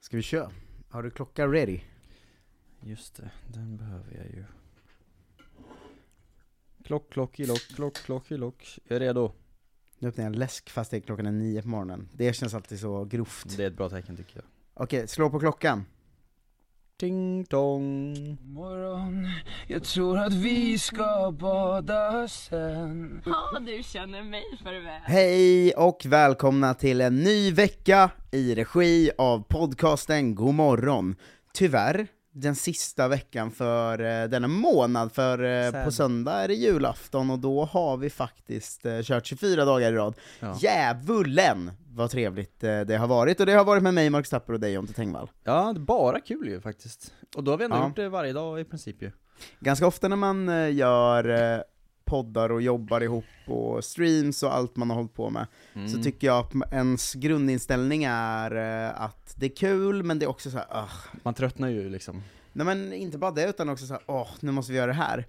Ska vi köra? Har du klocka ready? Just det, den behöver jag ju. Klock, klock, i lock, klock, klock, i lock. Jag är redo. Nu öppnar jag en läsk fast det är klockan är nio på morgonen. Det känns alltid så grovt. Det är ett bra tecken tycker jag. Okej, slå på klockan. Ding dong. Morgon, jag tror att vi ska bada sen Ja, du känner mig för väl. Hej och välkomna till en ny vecka i regi av podcasten God morgon. Tyvärr den sista veckan för eh, denna månad, för eh, Sad. på söndag är det julafton och då har vi faktiskt eh, kört 24 dagar i rad. Ja. Djävulen vad trevligt eh, det har varit, och det har varit med mig, Mark Stapper och dig, Jonte Tengvall. Ja, det är bara kul ju faktiskt. Och då har vi ändå Ja. gjort det varje dag i princip ju. Ganska ofta när man eh, gör eh, poddar och jobbar ihop och streams och allt man har hållit på med, Mm. så tycker jag att ens grundinställning är eh, att det är kul, men det är också så här, "Ugh." Man tröttnar ju liksom. Nej men inte bara det, utan också så här, åh, nu måste vi göra det här.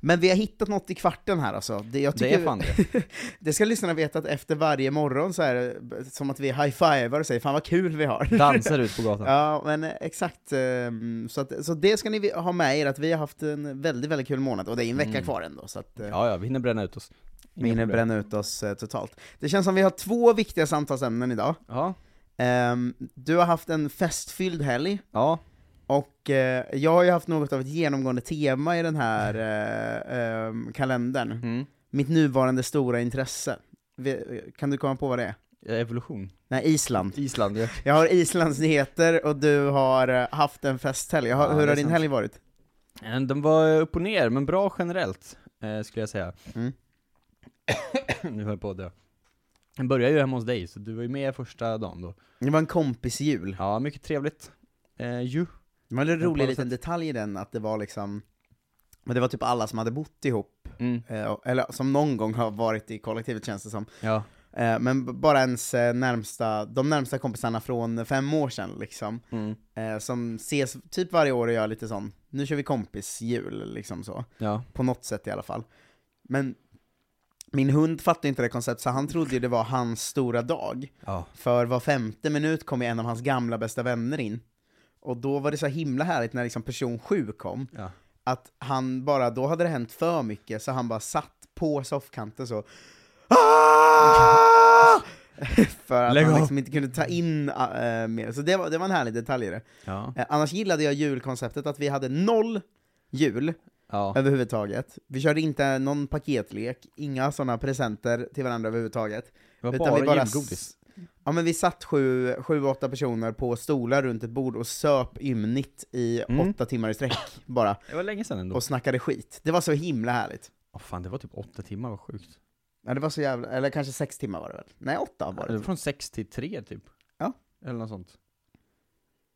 Men vi har hittat något i kvarten här alltså. Det, jag Mm. Det tycker, är fan det. det ska lyssnarna veta att efter varje morgon så är det som att vi high-fivar och säger 'Fan vad kul vi har' Dansar ut på gatan. Ja, men eh, exakt. ehm, Så, att, så det ska ni vi- ha med er, att vi har haft en väldigt, väldigt kul månad, och det är en vecka Mm. kvar ändå, så att eh, Ja, ja, vi hinner bränna ut oss. Inga vi hinner problem. bränna ut oss eh, totalt. Det känns som vi har två viktiga samtalsämnen idag. Ja, Ehm, Du har haft en festfylld helg, ja. och eh, jag har ju haft något av ett genomgående tema i den här eh, ehm, kalendern. Mm. Mitt nuvarande stora intresse. Vi- eh, Kan du komma på vad det är? Evolution. Nej, Island. Island ja. Jag har Islandsnyheter och du har eh, haft en festhelg. Jag har- Ja, Hur det har är din sant. helg varit? Eh, Den var upp och ner, men bra generellt, eh, skulle jag säga. Mm. nu höll jag på att dö. Den började ju hemma hos dig, så du var ju med första dagen då. Det var en kompisjul. Ja, mycket trevligt. Eh, ju. Det var en Ja, på rolig alla liten detalj i den, att det var liksom, men det var typ alla som hade bott ihop, Mm. eh, och- eller som någon gång har varit i kollektivet känns det som. Ja. Eh, Men b- bara ens eh, närmsta, de närmsta kompisarna från fem år sedan liksom, Mm. eh, som ses typ varje år och gör lite sån, nu kör vi kompisjul liksom så. Ja. På något sätt i alla fall. Men min hund fattade inte det konceptet, så han trodde ju det var hans stora dag. Ja. För var femte minut kom ju en av hans gamla bästa vänner in. Och då var det så himla härligt när liksom person sju kom, Ja. att han bara, då hade det hänt för mycket, så han bara satt på soffkanten så "Ah!" För att Lägg han av. liksom inte kunde ta in äh, äh, mer. Så det var, det var en härlig detalj i det. Ja. Eh, annars gillade jag julkonceptet, att vi hade noll jul, Ja. överhuvudtaget. Vi körde inte någon paketlek, inga sådana presenter till varandra överhuvudtaget. Det var Utan bara, vi bara s- julgodis. Ja men vi satt sju, sju, åtta personer på stolar runt ett bord och söp ymnigt i Mm. åtta timmar i sträck bara, Det var länge sedan ändå. och snackade skit. Det var så himla härligt. Åh fan, det var typ åtta timmar, vad sjukt. Ja, det var så jävla, eller kanske sex timmar var det väl? Nej, åtta var Det var det. från sex till tre typ. Ja. Eller något sånt.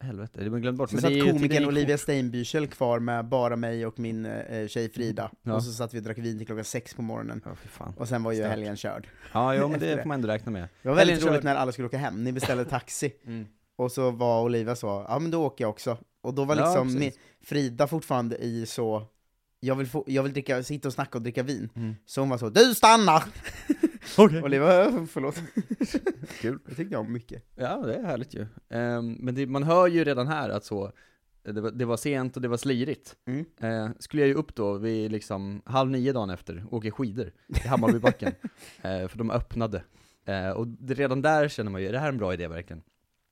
Helvete, det var glömt bort. Sen det satt är ju typ komikern tydligen- Olivia Steinbüchel kvar med bara mig och min eh, tjej Frida, Mm. Ja. och så satt vi och drack vin till klockan sex på morgonen, Ja, fy fan. och sen var ju Stört. helgen körd. Ja, jo, men Efter det. det får man ändå räkna med. Det var väldigt Helgen roligt körd. när alla skulle åka hem, ni beställde taxi, Mm. och så var Olivia så, ja men då åker jag också. Och då var Ja, liksom precis. mi- Frida fortfarande i så, jag vill, få, jag vill dricka, sitta och snacka och dricka vin. Mm. Så hon var så, du stannar! Okej. Olivia, "Äh, förlåt. Kul. Det tyckte jag om mycket. Ja, det är härligt ju. Ehm, men det, man hör ju redan här att så, eh, det var, det var sent och det var slirigt. Mm. Eh, skulle jag ju upp då vid liksom halv nio dagen efter och åker skidor i Hammarbybacken. eh, för de öppnade. Eh, och det, redan där känner man ju, är det här en bra idé verkligen?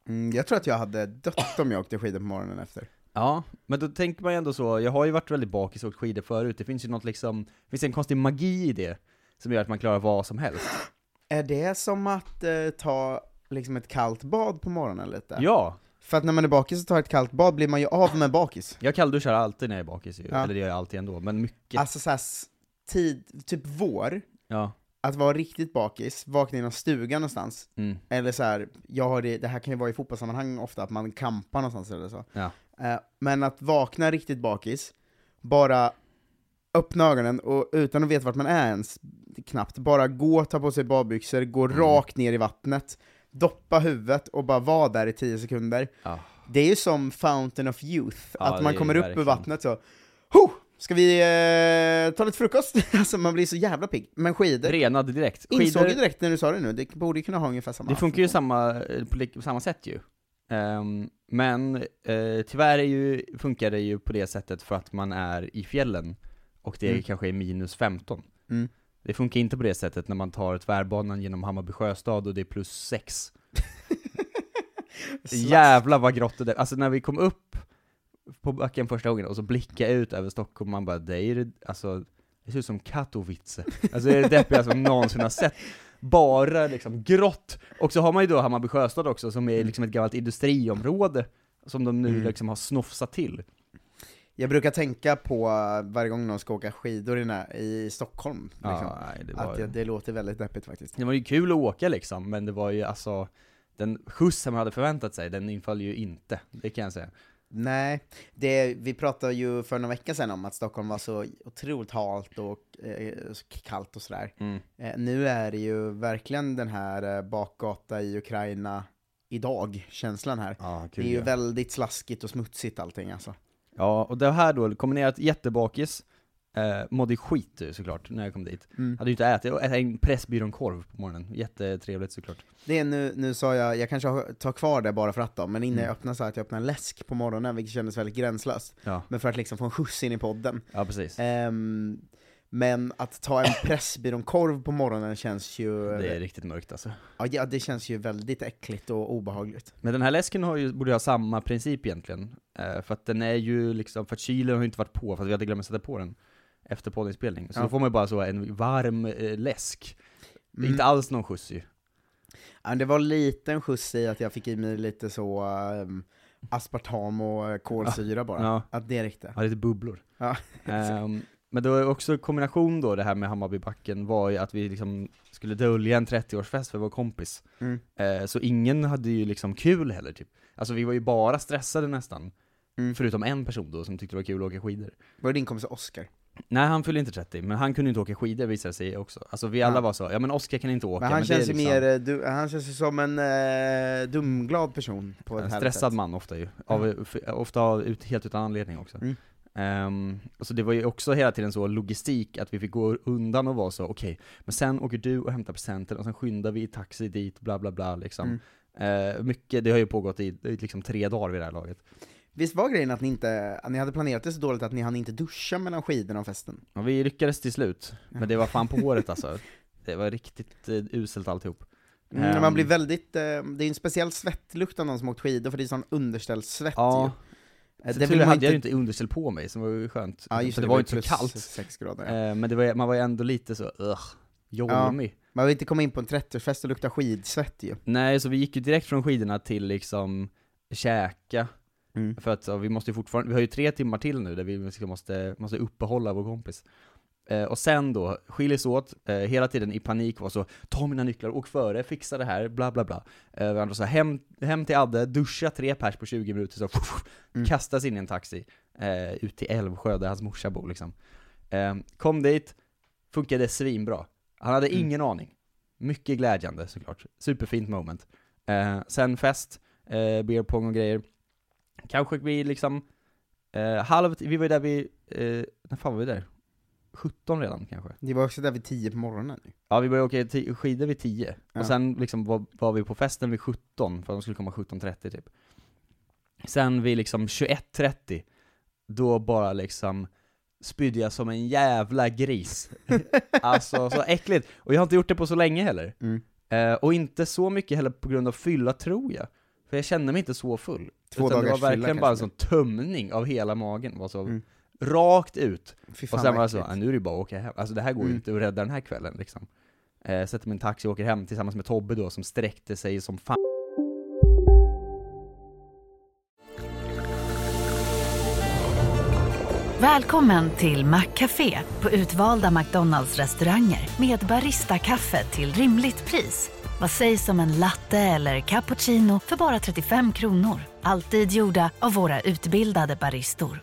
Mm, jag tror att jag hade dött om jag åkte skidor på morgonen efter. Ja, men då tänker man ju ändå så, jag har ju varit väldigt bakis och åkt skidor förut, det finns ju något liksom, det finns en konstig magi i det som gör att man klarar vad som helst. Är det som att eh, ta liksom ett kallt bad på morgonen lite? Ja! För att när man är bakis och tar ett kallt bad blir man ju av med bakis. Jag kallduschar alltid när jag är bakis ju, Ja. eller det gör jag alltid ändå, men mycket. Alltså såhär, s- tid, typ vår, Ja. att vara riktigt bakis, vakna i någon stuga någonstans, Mm. eller så här, jag har det, det här kan ju vara i fotbollssammanhang ofta, att man kampar någonstans eller så. Ja. Eh, Men att vakna riktigt bakis, bara öppna ögonen och utan att veta vart man är ens, knappt, bara gå, ta på sig badbyxor, gå Mm. rakt ner i vattnet, doppa huvudet och bara vara där i 10 sekunder. Ja. Det är ju som Fountain of Youth, Ah. Ja, att man det är kommer upp ur verkligen. vattnet så, ho! Ska vi eh, ta lite frukost? alltså man blir så jävla pigg. Men skidor, Renad direkt. insåg ju Skidor, direkt när du sa det nu, det borde ju kunna ha ungefär samma det funkar ju samma, eh, på lik- på samma sätt ju. Ehm, men eh, tyvärr är ju, funkar det ju på det sättet för att man är i fjällen och det Mm. kanske är minus 15. Mm. Det funkar inte på det sättet när man tar tvärbanan genom Hammarby sjöstad och det är plus 6. Jävlar vad grått det där. Alltså när vi kom upp på backen första gången och så blickade jag ut över Stockholm, man bara det är det, alltså det ser ut som Katowice. Alltså det är det deppigaste som någonsin har sett. Bara liksom grått. Och så har man ju då Hammarby sjöstad också som är liksom ett gammalt industriområde som de nu Mm. liksom har snofsat till. Jag brukar tänka på eh, varje gång någon ska åka skidor i, nä- i Stockholm, liksom. Ja, nej, det, var att ju, det, det låter väldigt deppigt faktiskt. det var ju kul att åka liksom, men det var ju alltså den skjuts som man hade förväntat sig, den inföll ju inte. Det kan jag säga. Nej, det, vi pratade ju för några veckor sedan om att Stockholm var så otroligt halt och eh, så kallt och sådär. Mm. Eh, nu är det ju verkligen den här eh, bakgata i Ukraina idag-känslan här. Ja, kul, Det är ju ja. väldigt slaskigt och smutsigt allting alltså. Ja, och det här då, kombinerat jättebakis, eh, mådde skit ju såklart när jag kom dit. Mm. Hade ju inte ätit, och ätit en Pressbyrån-korv på morgonen. Jättetrevligt såklart. Det är nu, nu sa jag, jag kanske har- tar kvar det bara för att då, men innan Mm. jag öppnade så att jag öppnade en läsk på morgonen, vilket kändes väldigt gränslöst. Ja, Men för att liksom få en skjuts in i podden. ja precis. Ehm, men att ta en Pressbyrån-korv på morgonen känns ju, Det är riktigt mörkt alltså. ja, ja, det känns ju väldigt äckligt och obehagligt. Men den här läsken har ju, borde ju ha samma princip egentligen. Eh, för att den är ju liksom, för att kylen har ju inte varit på, för att vi hade glömt att sätta på den efter poddinspelning. Så Ja. då får man ju bara så en varm eh, läsk. Det är Mm. Inte alls någon skjuts ju. Ja, men det var en liten skjuts i att jag fick i mig lite så ehm, aspartam och eh, kolsyra bara. Ja. Att det räckte. Ja, lite bubblor. Ja, Ehm, men det var ju också kombination då det här med Hammarbybacken var ju att vi liksom skulle dölja en 30-årsfest för vår kompis. Mm. Eh, så ingen hade ju liksom kul heller typ. Alltså vi var ju bara stressade nästan. Mm. Förutom en person då som tyckte det var kul att åka skidor. Var det din kompis Oscar? Nej han fyllde inte 30, men han kunde inte åka skidor visade det sig också. Alltså vi alla Ja. var så, ja men Oskar kan inte åka. Men han det känns är ju liksom mer, eh, du, han känns ju som en eh, dumglad person på ett En härligt stressad sätt. man ofta ju, av, f- ofta av, ut, helt utan anledning också. Mm. Ehm, och så det var ju också hela tiden så logistik, att vi fick gå undan och vara så, okej, men sen åker du och hämtar presenten och sen skyndar vi i taxi dit, bla bla bla liksom. Mm. Ehm, mycket, det har ju pågått i, i liksom tre dagar vid det här laget. Visst var grejen att ni inte, att ni hade planerat det så dåligt att ni hann inte duscha mellan skidorna och festen? Och vi lyckades till slut, men det var fan på håret alltså. Det var riktigt eh, uselt alltihop. Mm, Ehm, man blir väldigt, eh, det är ju en speciell svettlukt av någon som åkt skidor för det är sån underställssvett ju. Ja, Eh, så det tur vill man hade inte... jag ju inte underställ på mig, som var ju skönt. Ja, just för det, det, var ju inte så plus kallt. 6 grader. ja. Ehm, men det var, ju- man var ju ändå lite så, ugh, jolmig. Man vill inte komma in på en 30-årsfest och lukta skidsvett ju. Nej, så vi gick ju direkt från skidorna till liksom käka, Mm. för att så, vi måste ju fortfarande, vi har ju tre timmar till nu där vi liksom måste, måste uppehålla vår kompis. Eh, och sen då, skiljs åt, eh, hela tiden i panik var så, ta mina nycklar, åk före, fixa det här, bla bla bla. Eh, vi andra så, hem, hem till Adde, duscha tre pers på 20 minuter, så Mm. kastas in i en taxi, eh, ut till Älvsjö där hans morsa bor liksom. Eh, kom dit, funkade svinbra. Han hade Mm. ingen aning. Mycket glädjande såklart. Superfint moment. Eh, sen fest, eh, beer pong och grejer. Kanske vi liksom, eh, halv, vi var ju där vid, eh, när fan var vi där? 17 redan kanske? Det var också där vid 10 på morgonen. ju. Ja vi började åka ti- skidor vid 10, Ja. och sen liksom var, var vi på festen vid 17, för de skulle komma 17.30 typ. Sen vid liksom 21.30, då bara liksom spydde jag som en jävla gris. alltså så äckligt. Och jag har inte gjort det på så länge heller. Mm. Eh, och inte så mycket heller på grund av fylla tror jag. För jag kände mig inte så full. Två utan det var dagars fylla verkligen bara en kanske. sån tömning av hela magen, var så Mm. rakt ut. Fy fan Och sen var jag vad så, "Ah, äckligt. nu är det bara att åka hem. Alltså det här går ju Mm. inte att rädda den här kvällen liksom. Eh, sätter min taxi och åker hem tillsammans med Tobbe då, som sträckte sig som fan. Välkommen till Maccafé på utvalda McDonalds restauranger med Baristakaffe till rimligt pris. Vad sägs om en latte eller cappuccino för bara 35 kronor? Alltid gjorda av våra utbildade baristor.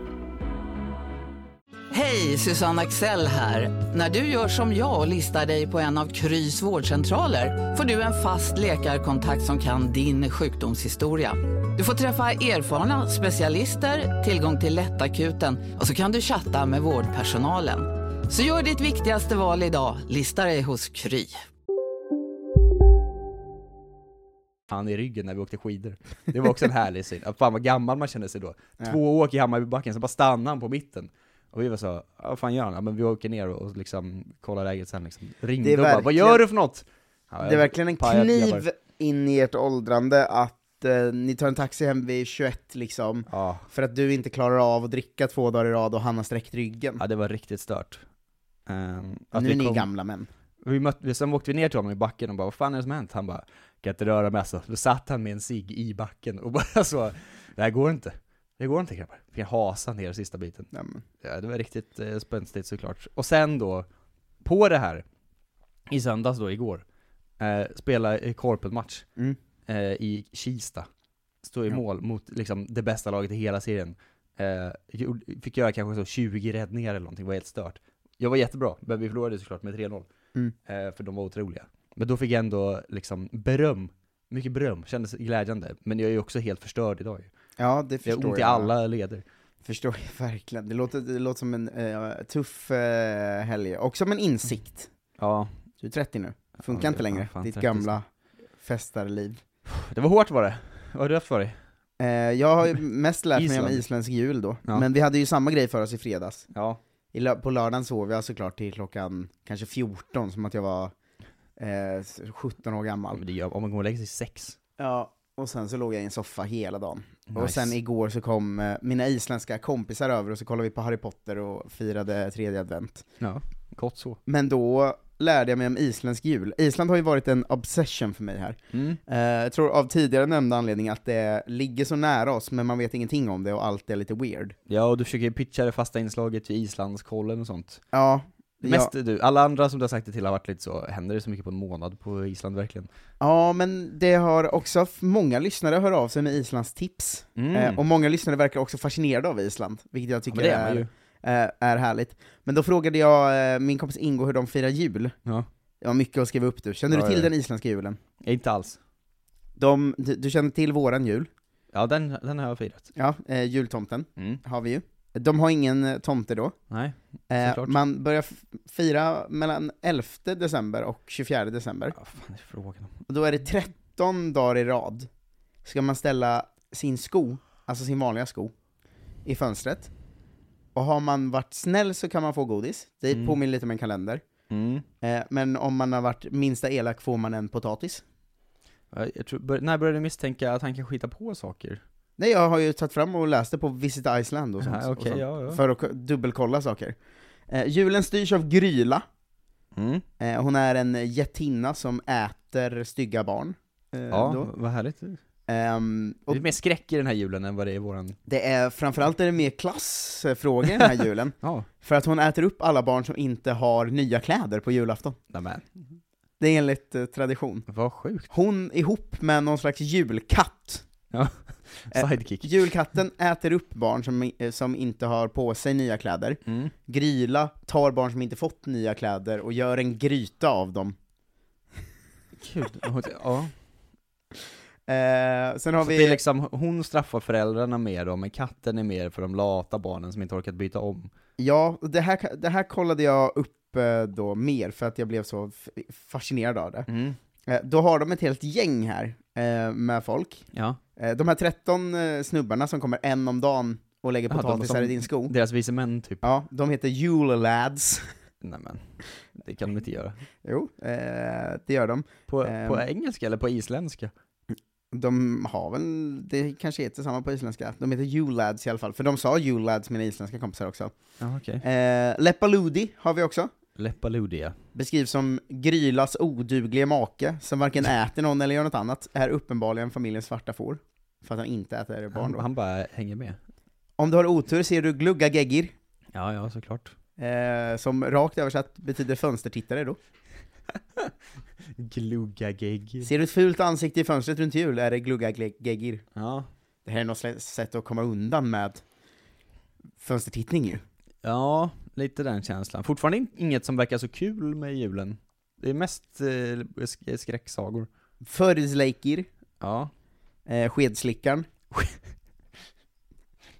Hej, Susanne Axel här. När du gör som jag och listar dig på en av Krys vårdcentraler får du en fast läkarkontakt som kan din sjukdomshistoria. Du får träffa erfarna specialister, tillgång till lättakuten och så kan du chatta med vårdpersonalen. Så gör ditt viktigaste val idag, listar dig hos Kry. han i ryggen när vi åkte skidor. Det var också en härlig syn. Att Fan vad gammal man kände sig då. Ja. Två åk i Hammarbybacken, så bara stannade han på mitten. Och vi var så, "Ja, vad fan gör han? Ja, men vi åker ner och, och liksom kollar läget sen liksom. Ringde Det är och bara, vad verkligen- gör du för något? Ja, Det är verkligen en pajat kniv grabbar. in i ert åldrande att eh, ni tar en taxi hem vid 21 liksom, Ja, för att du inte klarar av att dricka två dagar i rad och han har sträckt ryggen. ja, det var riktigt stört. Ehm, att nu vi är ni kom- gamla män. Vi mötte, sen åkte vi ner till honom i backen och bara vad fan är det som har hänt? Han bara, kan inte röra mig alltså. Då satt han med en cigg i backen och bara så, det här går inte. Det går inte grabbar. Fick jag hasa ner sista biten. Ja, men. Ja, det var riktigt eh, spänstigt såklart. Och sen då, på det här, i söndags då, igår, eh, spela i korpenmatch Mm. eh, i Kista. Stod i Ja. mål mot liksom det bästa laget i hela serien. Eh, gjorde- fick göra kanske så 20 räddningar eller någonting, var helt stört. Jag var jättebra, men vi förlorade såklart med 3-0. Mm. Eh, för de var otroliga. Men då fick jag ändå liksom beröm. Mycket beröm, kändes glädjande. Men jag är ju också helt förstörd idag ju. ja det Jag förstår har ont i alla leder. Förstår jag verkligen. Det låter, det låter som en eh, tuff eh, helg, och som en insikt. Ja, Du är 30 nu, funkar Ja, inte det- längre, ja, fan, ditt 30. gamla festarliv. det var hårt var det. Vad har du haft för dig? Eh, jag har ju mest lärt mig om Island. isländsk jul då, Ja. men vi hade ju samma grej för oss i fredags. Ja, I lö- på lördagen sov jag såklart till klockan kanske 14, som att jag var eh, 17 år Ja, men gammal. det gör, om man går och lägger sig sex. Ja, och sen så låg jag i en soffa hela dagen. Och Nice. sen igår så kom eh, mina isländska kompisar över och så kollade vi på Harry Potter och firade tredje advent. Ja, gott så. Men då lärde jag mig om isländsk jul. Island har ju varit en obsession för mig här. Mm. Eh, jag tror av tidigare nämnda anledning att det ligger så nära oss, men man vet ingenting om det och allt är lite weird. Ja, och du försöker ju pitcha det fasta inslaget till Islandskollen och sånt. Ja, Mest ja, du, alla andra som du har sagt det till har varit lite så, händer det så mycket på en månad på Island verkligen? ja, men det har också, många lyssnare hör av sig med Islands tips. Mm. Eh, och många lyssnare verkar också fascinerade av Island, vilket jag ja, tycker men det är är, man ju. eh, är härligt. Men då frågade jag eh, min kompis Ingo hur de firar jul. Ja. Det var mycket att skriva upp du. Känner Ja, du till ja. den isländska julen? Ja, Inte alls. De, du, du känner till våran jul, Ja, den, den har jag firat. ja, eh, jultomten Mm. har vi ju. De har ingen eh, tomte då. Nej. Eh, Såklart. man börjar f- fira mellan 11 december och 24 december. Ja, fan är det frågan om? Och då är det 13 dagar i rad ska man ställa sin sko, alltså sin vanliga sko, i fönstret. Och har man varit snäll så kan man få godis. Det Mm. påminner lite om en kalender. Mm. Eh, men om man har varit minsta elak får man en potatis. Ja, Jag tror, bör, när började du misstänka att han kan skita på saker? Nej, jag har ju tagit fram och läst det på Visit Iceland och sånt. Ja, och okej, sånt ja, ja. För att k- dubbelkolla saker. Eh, julen styrs av Gryla. Mm. Eh, hon är en jättinna som äter stygga barn. Eh, Ja, Mm. då. vad härligt. Ehm, Det och är mer skräck i den här julen än vad det är i våran... det är framförallt är det mer klassfrågor den här julen. Ja. För att hon äter upp alla barn som inte har nya kläder på julafton. Nämen, Det är enligt eh, tradition. vad sjukt. Hon ihop med någon slags julkatt. Eh, Sidekick. Julkatten äter upp barn som, eh, som inte har på sig nya kläder. Mm. Gryla tar barn som inte fått nya kläder och gör en gryta av dem. Kul. Ja. Eh, sen har Så det vi... är liksom, hon straffar föräldrarna mer då, men katten är mer för de lata barnen som inte orkat byta om. Ja, och det Mm. här, det här kollade jag upp eh, då mer för att jag blev så f- fascinerad av det. Eh, Då har de ett helt gäng här eh, med folk. Ja. Eh, De här 13 eh, snubbarna som kommer en om dagen och lägger Jaha, de potatisar som- i din sko. Deras vise män typ. Ja, de heter Yule Lads. Nej men, det kan de inte göra. Jo, eh, det gör de. På, Ehm. på engelska eller på isländska? De har väl, det kanske heter samma på isländska. De heter Yule Lads i alla fall, för de sa Yule Lads, mina isländska kompisar också. Ja okej. Eh, Leppaludi har vi också. Leppaludia. Beskrivs som Grylas oduglige make, som varken äter någon eller gör något annat, är uppenbarligen familjens svarta får. För att han inte äter barn Han, då. han bara hänger med. Om du har otur ser du Glugga Geggir, Ja, ja såklart. eh, som rakt översatt betyder fönstertittare då. Mm. Glugga gegg. Ser du ett fult ansikte i fönstret runt jul är det Glugga Gleg- Geggir. Ja. Det här är något slags sätt att komma undan med fönstertittning ju. ja, lite den känslan. Fortfarande in- inget som verkar så kul med julen. Det är mest eh, sk- skräcksagor. Förisleikir, Ja. eh, skedslickaren.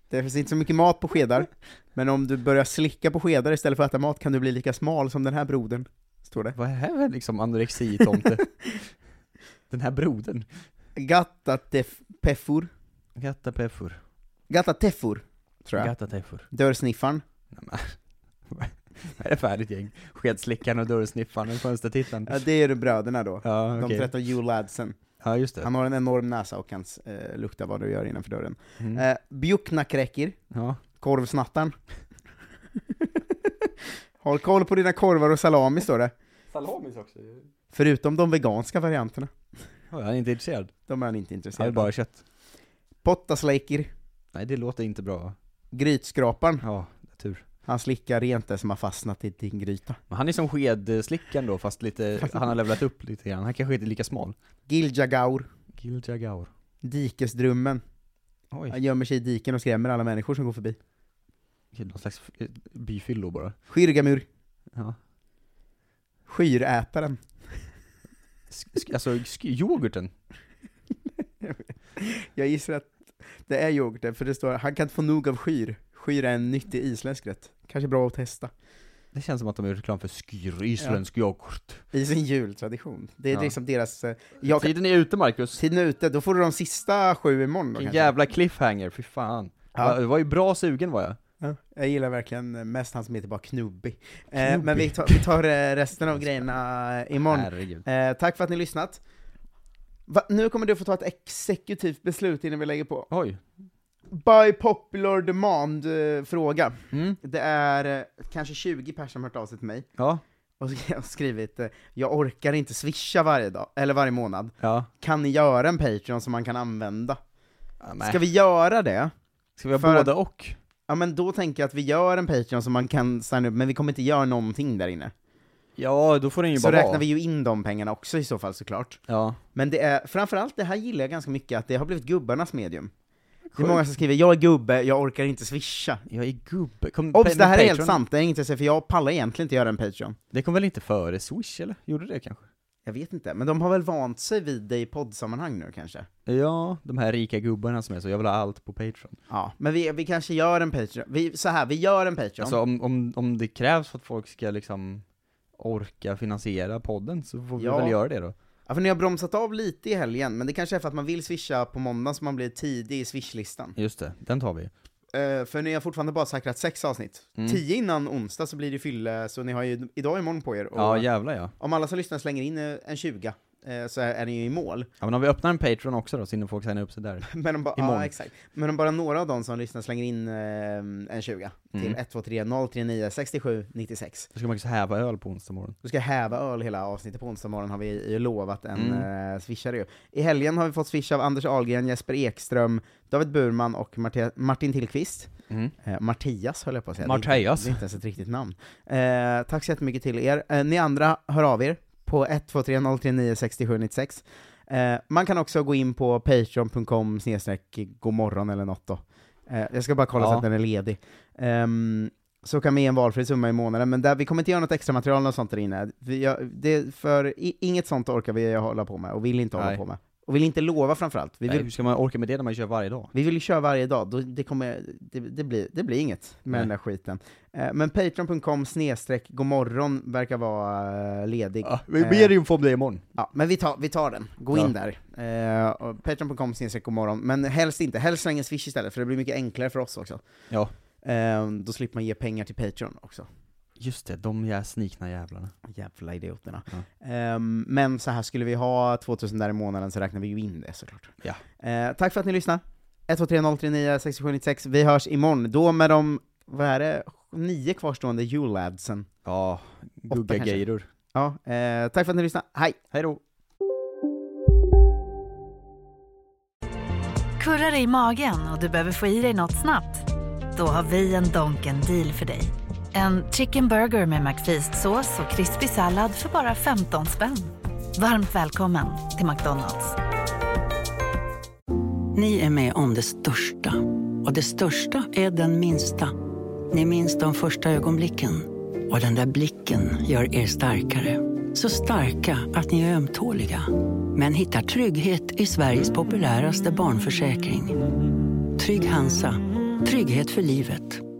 Det finns inte så mycket mat på skedar, men om du börjar slicka på skedar istället för att äta mat kan du bli lika smal som den här brodern, står det. Vad är det här för liksom anorexitomte? den här brodern. Gattateffur, Gattapeffur. Gattateffur, tror jag. Gattateffur. Dörrsniffaren. Nej, men. Vad är det för härligt gäng? Skedslickaren och dörrsniffaren och fönstertittaren. Ja, det är ju bröderna då. Ja, De okej. 13 juladsen. Ja, just det. Han har en enorm näsa och kan eh, lukta vad du gör innanför dörren. Mm. Eh, Bjuknakräkir, Ja. korvsnattaren. Håll koll på dina korvar och salami, står det. Salamis också ju. Förutom de veganska varianterna. Jag är inte intresserad. De är han inte Jag intresserad vill av. bara ha kött. Pottasleikir, Nej, det låter inte bra. grytskraparen. Ja, tur. Han slickar rent det som har fastnat i din gryta. Men han är som skedslickaren då, fast lite, han har levlat upp lite grann. Han kanske inte är lika smal. Giljagaur, Gildjagaur. dikesdrummen. Han Oj, gömmer sig i diken och skrämmer alla människor som går förbi. någon slags eh, byfyllo bara. Skyrgamur, Ja. skyrätaren. Sk- sk- alltså, sk- yoghurten? Jag gissar att det är yoghurten, för det står han kan inte få nog av skyr. Skyr är en nyttig isländsk rätt. Kanske bra att testa. Det känns som att de är reklam för skyr, isländsk yoghurt. I sin jultradition. Det är Ja. liksom deras... eh, Jag kan, Tiden är ute Marcus. tiden är ute, då får du de sista sju imorgon då, Vilken kanske. jävla cliffhanger, fy fan. Ja. Ja. Det var ju bra sugen var jag. Ja, jag gillar verkligen mest han som heter bara Knubbi. Eh, men vi tar, vi tar eh, resten av grejerna imorgon. Herregud. Eh, tack för att ni har lyssnat. Va? Nu kommer du få ta ett exekutivt beslut innan vi lägger på. Oj. By popular demand eh, fråga. Mm. Det är eh, kanske 20 personer som har hört av sig till mig Ja. och så har jag skrivit eh, “Jag orkar inte swisha varje dag, eller varje månad. Ja. Kan ni göra en Patreon som man kan använda?” nej. Ska vi göra det? Ska vi ha för både och? Ja men då tänker jag att vi gör en Patreon som man kan signa upp, men vi kommer inte göra någonting där inne. Ja, då får den ju Så bara räknar vara. vi ju in de pengarna också i så fall såklart. Ja. Men det är, framförallt det här gillar jag ganska mycket, att det har blivit gubbarnas medium. Det är många som skriver 'Jag är gubbe, jag orkar inte swisha' Jag är gubbe. Kom, Obs, pa- det här är helt Patreon- sant, det är inget jag säger, för jag pallar egentligen inte göra en Patreon. Det kom väl inte före Swish eller? Gjorde det kanske? Jag vet inte, men de har väl vant sig vid det i poddsammanhang nu kanske? Ja, de här rika gubbarna som är så, jag vill ha allt på Patreon. Ja, men vi, vi kanske gör en Patreon, vi, så här, vi gör en Patreon. Alltså om, om, om det krävs för att folk ska liksom orka finansiera podden så får vi Ja. väl göra det då. ja, för ni har bromsat av lite i helgen, men det kanske är för att man vill swisha på måndag så man blir tidig i swishlistan. Just det, den tar vi. Eh, för ni har fortfarande bara säkrat sex avsnitt. Mm. Tio innan onsdag så blir det fylle, så ni har ju idag och imorgon på er. Och Ja, jävlar ja. Om alla som lyssnar slänger in eh, en 20 eh, så är är ni ju i mål. Ja men om vi öppnar en Patreon också då, så hinner folk signa upp sig där. Men om, ba- Imorgon. ja, exakt. Men om bara några av dem som lyssnar slänger in eh, en 20 Mm. till 123 039 67 96. Då ska man också häva öl på onsdag morgon. Då ska jag häva öl hela avsnittet på onsdag morgon har vi ju lovat en mm. swishare ju. I helgen har vi fått swisha av Anders Ahlgren, Jesper Ekström, David Burman och Marte- Martin Tillqvist. Mm. Eh, Martias höll jag på att säga. Martias. Det är inte ens ett riktigt namn. Eh, tack så jättemycket till er. Eh, ni andra, hör av er på 1230396796. Eh, man kan också gå in på patreon.com snedstreck godmorgon eller något då. Eh, jag ska bara kolla så Ja. att den är ledig. Ehm, så kan vi ge en valfri summa i månaden, men där, vi kommer inte göra något extra material och sånt där inne. Vi, gör- det, för i, inget sånt orkar vi hålla på med, och vill inte hålla Nej. på med. Och vill inte lova framförallt. Vi Nej, vill, hur ska man orka med det när man kör varje dag? vi vill ju köra varje dag, då det, kommer, det, det, blir, det blir inget med Nej. den där skiten. Eh, Men patreon.com snedstreck godmorgon verkar vara eh, ledig. Ja, Eh, vi ber info om det imorgon. Ja, men vi tar, vi tar den. Gå Ja. in där. Eh, och Patreon.com snedstreck godmorgon, men helst inte. Helst släng en swish istället, för det blir mycket enklare för oss också. Ja. Eh, då slipper man ge pengar till Patreon också. Just det, de jä- snikna jävlarna. Jävla idioterna. Ehm, men så här skulle vi ha 2000 där i månaden så räknar vi ju in det såklart. Ja. Eh, tack för att ni lyssnar. 123039 6796. Vi hörs imorgon, då med de, vad är det, nio kvarstående julabsen. Ja, gugga kanske. gejror. Ja, eh, tack för att ni lyssnar. Hej! Hej då. Kurrar i magen och du behöver få i dig något snabbt? Då har vi en Donken deal för dig. En chicken burger med McFeast-sås och krispig sallad för bara 15 spänn. Varmt välkommen till McDonalds. Ni är med om det största. Och det största är den minsta. Ni minns de första ögonblicken. Och den där blicken gör er starkare. Så starka att ni är ömtåliga. Men hittar trygghet i Sveriges populäraste barnförsäkring. Trygg Hansa. Trygghet för livet.